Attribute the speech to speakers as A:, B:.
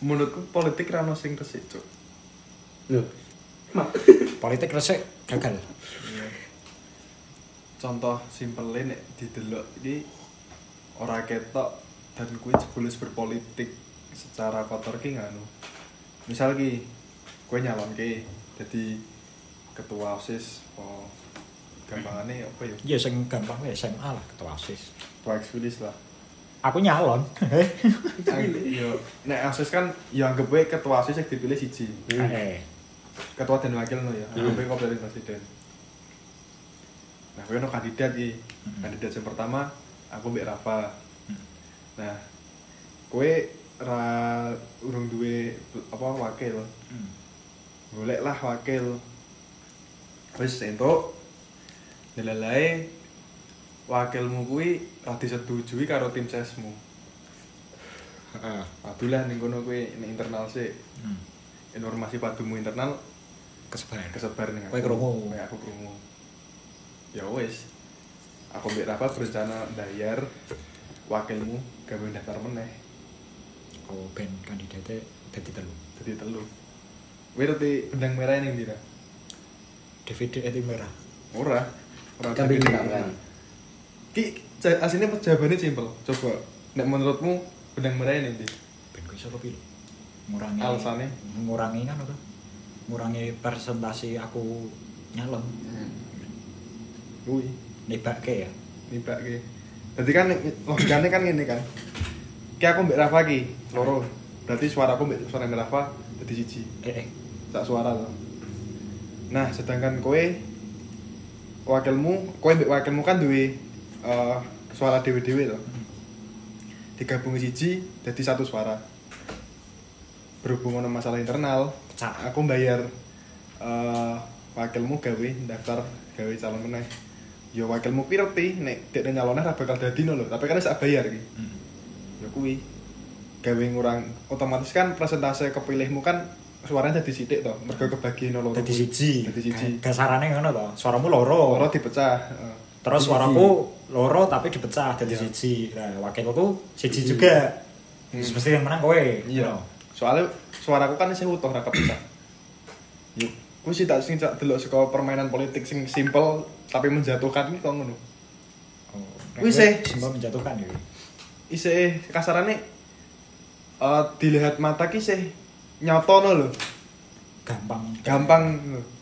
A: menurutku politik rano sing resik cuk
B: Loh. Mak.
C: Politik resik gagal.
A: contoh simpelnya nek didelok ini ora ketok dan kue jebulus berpolitik secara kotor ki nganu misal ki kue nyalon ki jadi ketua osis oh gampangannya apa ya
C: Ya sing gampang ya SMA lah ketua OSIS.
A: ketua ekspedis lah
C: Aku nyalon.
A: Ang- yo nek osis kan ya anggap wae ketua osis yang dipilih siji
C: Eh.
A: ketua dan wakil no ya anggap wae kok dari presiden nah gue no kandidat ki kandidat yang pertama aku mbak Rafa nah kue ra urung duwe apa wakil
C: Hmm.
A: golek lah wakil wis entuk delalae wakilmu kuwi ra disetujui karo tim sesmu
C: Heeh.
A: Padu lah ning kono kuwi ning internal sih.
C: Hmm.
A: Informasi padumu internal
C: Kesebar.
A: kesebar ning aku.
C: Kowe krungu.
A: Kowe aku krungu. Ya wis. Aku mbek Rafa berencana bayar wakilmu gawe daftar meneh
C: Oh ben kandidatnya dadi telu.
A: dadi telu. Kowe ngerti benang merah ning ndi ta?
C: DVD itu merah.
A: Ora. Ora
B: Kambing
A: dadi-
B: hitam.
A: Ki ja- aslinya jawabannya simpel. Coba nek menurutmu benang merah ning ndi?
C: Ben kuwi sapa pilo? Ngurangi
A: Alasannya?
C: Ngurangi kan apa? Ngurangi presentasi aku nyalon.
A: Kuwi.
C: Nibake ya.
A: nibak ke jadi kan logikanya kan gini kan kayak aku mbak Rafa ki loro berarti suara aku mbak suara mbak Rafa jadi siji
C: Eh eh.
A: tak suara loh nah sedangkan kowe wakilmu kowe mbak wakilmu kan duwe eh, suara dewe dewe loh digabung siji jadi satu suara berhubung dengan masalah internal
C: Pecah.
A: aku bayar eh, wakilmu gawe daftar gawe calon meneh ya wakilmu kuwi ngerti nek dek nyalonnya ra bakal dadi no lho tapi kan sak bayar iki
C: Hmm.
A: ya kuwi gawe ngurang otomatis kan presentase kepilihmu kan suaranya jadi sithik to mergo kebagi no loro
C: Dadi
A: kuwi.
C: siji.
A: dadi siji
C: Ga- Kasarane ngono to. Suaramu loro.
A: loro dipecah heeh.
C: Terus suaraku loro tapi dipecah dadi
A: Iya. Hmm.
C: siji. Nah, wakilku siji juga. Terus mesti yang menang kowe. Oh,
A: iya soalnya suaraku kan isih utuh ra kepecah ya kuwi sih tak sing tak delok saka permainan politik sing simple tapi menjatuhkan iki kok ngono
C: Oh.
A: Wis, eh.
C: Semua menjatuhkan ya.
A: isih kasarane eh dilihat mata ki sih nyotono lho
C: Gampang.
A: gampang lho.